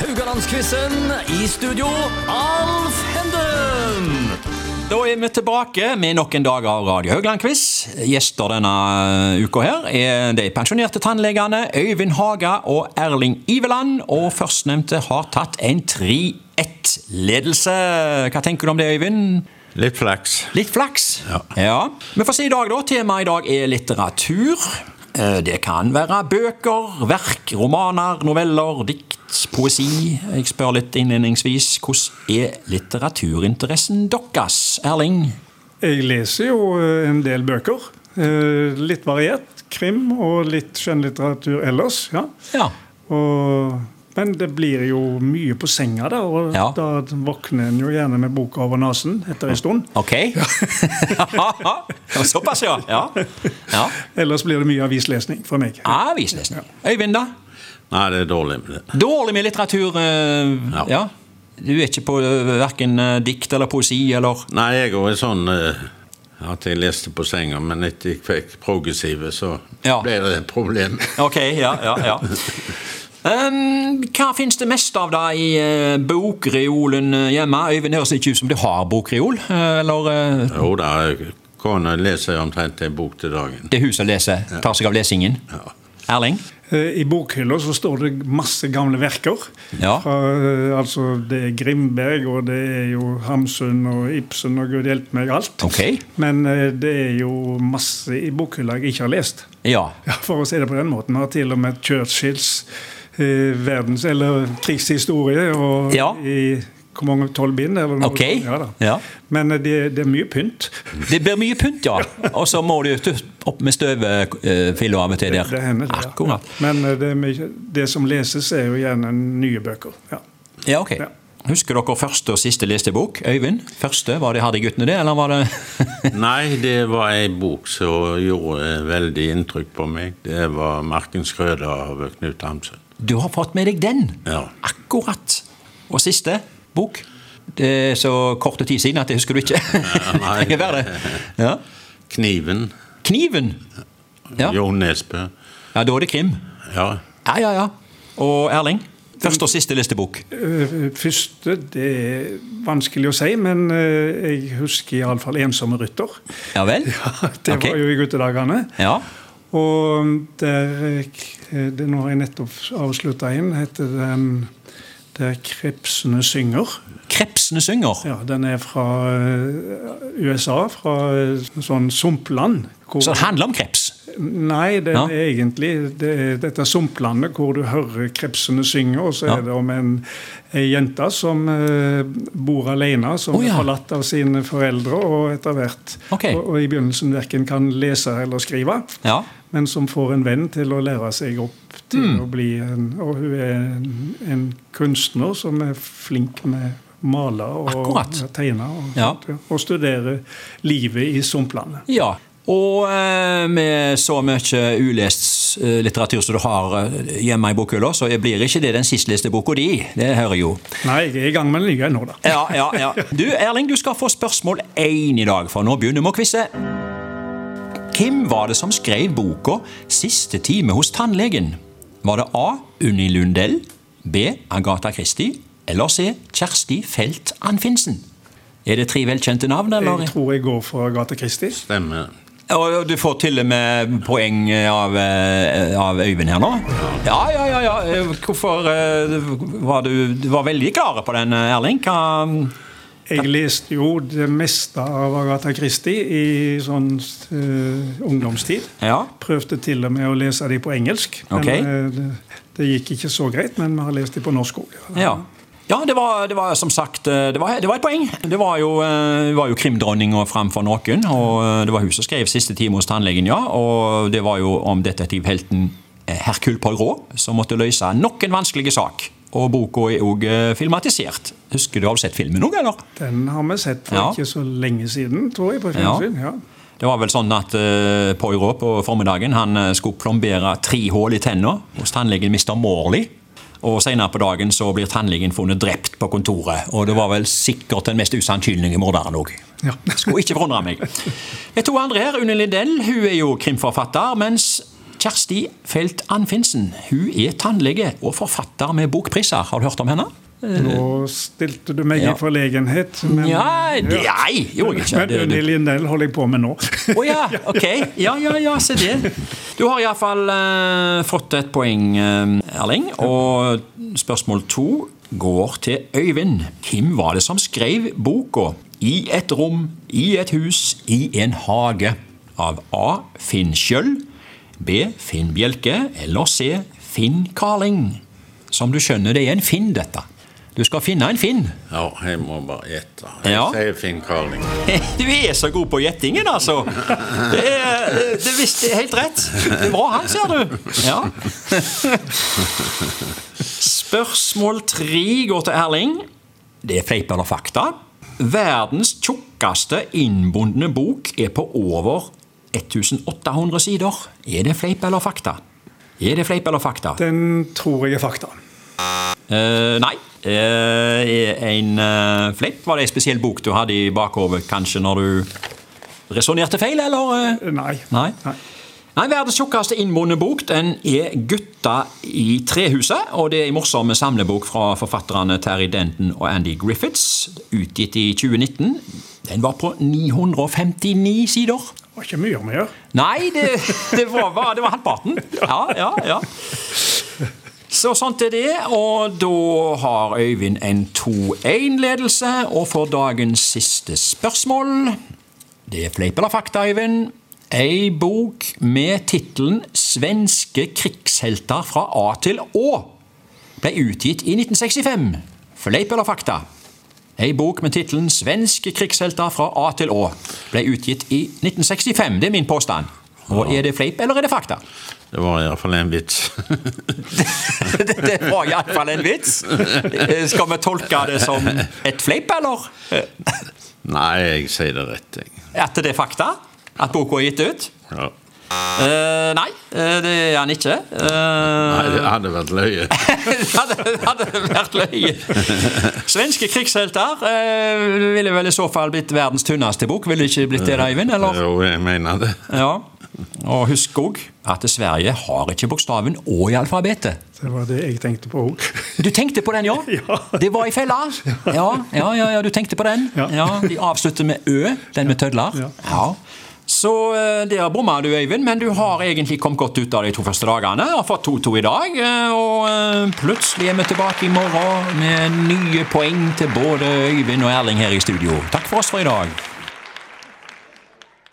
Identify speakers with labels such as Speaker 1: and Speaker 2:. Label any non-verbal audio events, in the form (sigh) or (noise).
Speaker 1: Rogalandsquizen i studio, Alf Henden!
Speaker 2: Da er vi tilbake med nok en dag av Radio Haugland-quiz. Gjester denne eh, uka her er de pensjonerte tannlegene Øyvind Haga og Erling Iveland. Og førstnevnte har tatt en 3-1-ledelse. Hva tenker du om det, Øyvind?
Speaker 3: Litt flaks.
Speaker 2: Litt flaks. Ja. Vi får si i dag, da. Temaet i dag er litteratur. Eh, Det kan være bøker, verk, romaner, noveller, dikt, poesi. Jeg spør litt innledningsvis, hvordan er litteraturinteressen deres, Erling?
Speaker 4: Jeg leser jo eh, en del bøker. eh, Litt variert. Krim og litt skjønnlitteratur ellers. ja.
Speaker 2: Ja.
Speaker 4: Og, men det blir jo mye på senga, da. Og
Speaker 2: Ja.
Speaker 4: da våkner en jo gjerne med boka over nesen etter en stund. (laughs)
Speaker 3: (laughs)
Speaker 2: Ok. Ja, Såpass, ja. ja. ja.
Speaker 4: Ellers blir det mye avislesning for meg.
Speaker 2: Avislesning. Øyvind, da?
Speaker 3: Nei, det er dårlig med det.
Speaker 2: Dårlig med litteratur. eh,
Speaker 3: Ja.
Speaker 2: ja. Du er ikke på eh, verken eh, dikt eller poesi eller
Speaker 3: Nei, jeg òg er sånn eh, at jeg leste på senga, men etter jeg fikk progressive, så
Speaker 2: Ja.
Speaker 3: ble det et problem.
Speaker 2: Ok, ja, ja, ja. Ehm, hva finnes det mest av da i eh, bokreolen eh, hjemme? Øyvind høres ikke ut som du har bokreol, eh, eller eh,
Speaker 3: Jo da, jeg- kona leser omtrent en bok til dagen.
Speaker 2: det huset leser, tar seg av lesingen.
Speaker 3: Ja.
Speaker 2: Erling?
Speaker 4: Eh, I bokhylla så står det masse gamle verker.
Speaker 2: Ja.
Speaker 4: Fra, eh, altså, det er Grimberg, og det er jo Hamsun og Ibsen og gud hjelpe meg alt.
Speaker 2: Ok.
Speaker 4: Men eh, det er jo masse i bokhylla jeg ikke har lest.
Speaker 2: Ja.
Speaker 4: Ja, for å si det på den måten. Vi har til og med Churchills eh, verdens, eller krigshistorie og
Speaker 2: Ja.
Speaker 4: i hvor mange tolv bind? Eller noe,
Speaker 2: Ok.
Speaker 4: Ja, da.
Speaker 2: Ja.
Speaker 4: Men eh, det, det er mye pynt.
Speaker 2: Det blir mye pynt, ja. Og så må du tø- opp med støvfilla av og til der.
Speaker 4: Det hender, det. ja.
Speaker 2: Akkurat.
Speaker 4: Men eh, det, er mye, det som leses, er jo gjerne nye bøker. Ja.
Speaker 2: Ja, ok.
Speaker 4: Ja.
Speaker 2: Husker dere første og siste leste bok? Øyvind? Første, var det Hadde guttene det, eller var det (laughs)
Speaker 3: Nei, det var ei bok som gjorde veldig inntrykk på meg. Det var 'Marken Skrøda' av Knut Hamsun.
Speaker 2: Du har fått med deg den!
Speaker 3: Ja.
Speaker 2: Akkurat. Og siste bok. Det er så kort tid siden at det husker du ikke.
Speaker 3: nei.
Speaker 2: Trenger være (laughs) det. Ja.
Speaker 3: 'Kniven'.
Speaker 2: Kniven. Ja. ja,
Speaker 3: Jo Nesbø.
Speaker 2: da er det krim.
Speaker 3: Ja.
Speaker 2: Ja, ja, ja. Og Erling? Første og siste listebok.
Speaker 4: Eh, Første Det er vanskelig å si, men eh, jeg husker iallfall 'Ensomme
Speaker 2: (laughs)
Speaker 4: rytter'.
Speaker 2: Ja vel?
Speaker 4: Det
Speaker 2: Ok.
Speaker 4: var jo i guttedagene.
Speaker 2: Ja.
Speaker 4: Og der eh, det Nå har jeg nettopp avslutta en. Heter den Der krepsene synger.
Speaker 2: Krepsene synger.
Speaker 4: Ja, Den er fra eh, USA, fra eh, sånn sumpland. hvor-
Speaker 2: Så det handler om kreps.
Speaker 4: Nei, det
Speaker 2: Ja.
Speaker 4: er egentlig det er dette sumplandet hvor du hører krepsene synge, og så
Speaker 2: Ja.
Speaker 4: er det om en, ei jente som eh, bor alene, som
Speaker 2: Å, ja.
Speaker 4: er forlatt av sine foreldre, og etter hvert
Speaker 2: Ok.
Speaker 4: og, og i begynnelsen verken kan lese eller skrive,
Speaker 2: Ja.
Speaker 4: men som får en venn til å lære seg opp til
Speaker 2: Mm.
Speaker 4: å bli en Og hun er en, en kunstner som er flink med male og
Speaker 2: Akkurat.
Speaker 4: tegne, og,
Speaker 2: Ja.
Speaker 4: sånt, ja, og studerer livet i sumplandet.
Speaker 2: ja. Og eh, med så mye ulest eh, litteratur som du har eh, hjemme i bokhylla, så blir ikke det den sist leste boka di. Det hører jo.
Speaker 4: Nei, jeg er i gang med den nye nå, da.
Speaker 2: Ja, ja, ja. (laughs) Du, Erling, du skal få spørsmål én i dag, for nå begynner vi å quize. Hvem var det som skrev boka 'Siste time hos tannlegen'? Var det A. Unni Lundell, B. Agatha Christie eller C. Kjersti Felt Anfinsen? Er det tre velkjente navn, eller?
Speaker 4: Jeg tror jeg går for Agatha Christie.
Speaker 3: Stemmer.
Speaker 2: Og du får til og med poeng av, eh, av Øyvind her nå. Ja, ja, ja. ja. Hvorfor eh, var du, du var veldig klar på den, eh, Erling? Hva
Speaker 4: Jeg leste jo det meste av Agatha Christie i sånn eh, ungdomstid.
Speaker 2: Ja.
Speaker 4: Prøvde til og med å lese de på engelsk. Men
Speaker 2: Ok.
Speaker 4: eh, det, det gikk ikke så greit, men vi har lest de på norsk òg.
Speaker 2: Ja. Ja, det var, det var som sagt eh, det var, det var et poeng. Det var jo, eh, var jo krimdronninga framfor noen. Og eh, det var hun som skrev 'Siste time hos tannlegen', ja. Og det var jo om detektivhelten eh, Hercule Poirot som måtte løse nok en vanskelig sak. Og boka er òg eh, filmatisert. Husker du har du sett filmen òg, eller?
Speaker 4: Den har vi sett for
Speaker 2: Ja.
Speaker 4: ikke så lenge siden, tror jeg, på
Speaker 2: Ja.
Speaker 4: fjernsyn. Ja.
Speaker 2: Det var vel sånn at eh, Poirot på formiddagen han eh, skulle plombere tre hull i tenna hos tannlegen Mr. Morley. Og Senere på dagen så blir tannlegen funnet drept på kontoret. Og det var vel sikkert den mest usannsynlige morderen òg.
Speaker 4: Ja.
Speaker 2: Skulle ikke forundre meg. De to andre her, Unni Lindell, hun er jo krimforfatter, mens Kjersti Felt Anfinsen. Hun er tannlege og forfatter med bokpriser. Har du hørt om henne?
Speaker 4: Nå stilte du meg
Speaker 2: Ja.
Speaker 4: i forlegenhet, men
Speaker 2: Ja, det,
Speaker 4: Ja.
Speaker 2: nei, gjorde jeg ikke.
Speaker 4: Men
Speaker 2: Det,
Speaker 4: Unni
Speaker 2: det,
Speaker 4: Lindell holder jeg på med nå.
Speaker 2: Å ja, ok. Ja, ja, ja, se det. Du har iallfall uh, fått et poeng, eh, Erling. Og spørsmål to går til Øyvind. Hvem var det som skrev boka 'I et rom, i et hus, i en hage' av A. Finn Skjøll, B. Finn Bjelke eller C. Finn Carling? Som du skjønner, det er en Finn, dette. Du skal finne en Finn.
Speaker 3: Ja, jeg må bare gjette. Jeg
Speaker 2: Ja.
Speaker 3: sier Finn Carling.
Speaker 2: (laughs) Du er så god på gjettingen, altså! Det er, det visste helt rett. Det er bra han, ser du. Ja. Spørsmål tre går til Erling. Det er fleip eller fakta. Verdens tjukkeste innbundne bok er på over 1800 sider. Er det fleip eller fakta? Er det fleip eller fakta?
Speaker 4: (laughs) Den tror jeg er fakta.
Speaker 2: Eh, nei. Eh, en eh, fleip? Var det en spesiell bok du hadde i bakhodet kanskje når du resonnerte feil, eller? eh?
Speaker 4: Nei.
Speaker 2: Nei. Nei, Verdens tjukkeste innbundne bok den er 'Gutta i trehuset'. og Det er en morsom samlebok fra forfatterne Terry Denton og Andy Griffiths, utgitt i 2019. Den var på 959 sider.
Speaker 4: Det var ikke mye om å gjøre.
Speaker 2: Nei, det, det, var, var, det var halvparten. Ja, ja, ja. Så sånt er det, og da har Øyvind en 2-1-ledelse. Og for dagens siste spørsmål Det er fleip eller fakta, Øyvind. Ei bok med tittelen 'Svenske krigshelter fra A til Å' ble utgitt i 1965. Fleip eller fakta? Ei bok med tittelen 'Svenske krigshelter fra A til Å' ble utgitt i 1965. Det er min påstand. Og er det fleip, eller er det fakta?
Speaker 3: Det var iallfall en vits.
Speaker 2: (laughs)
Speaker 3: (laughs)
Speaker 2: Det, det var iallfall en vits. Eh, Skal vi tolke det som et fleip, eller? Eh,
Speaker 3: Nei, jeg sier det rett, jeg.
Speaker 2: At det er fakta? At boka er gitt ut?
Speaker 3: Ja.
Speaker 2: Eh, nei, eh, det er han ikke. Eh,
Speaker 3: Nei, det hadde vært løye.
Speaker 2: (laughs) det hadde, det hadde vært løye. Svenske krigshelter eh, ville vel i så fall blitt verdens tynneste bok. Ville det ikke blitt det, da, Eivind? Eller?
Speaker 3: Jo, jeg mener det.
Speaker 2: Ja. Og husk òg at Sverige har ikke bokstaven Å i alfabetet.
Speaker 4: Det var det jeg tenkte på òg.
Speaker 2: Du tenkte på den, ja?
Speaker 4: (laughs) Ja.
Speaker 2: Det var i fella? Ja, ja, ja, ja du tenkte på den.
Speaker 4: Ja.
Speaker 2: Ja, De avslutter med Ø, den med tødler.
Speaker 4: Ja.
Speaker 2: Ja. Så eh, der bomma du, Øyvind, men du har egentlig kommet godt ut av de to første dagene. Har fått 2-2 i dag, eh, og eh, plutselig er vi tilbake i morgen med nye poeng til både Øyvind og Erling her i studio. Takk for oss for i dag.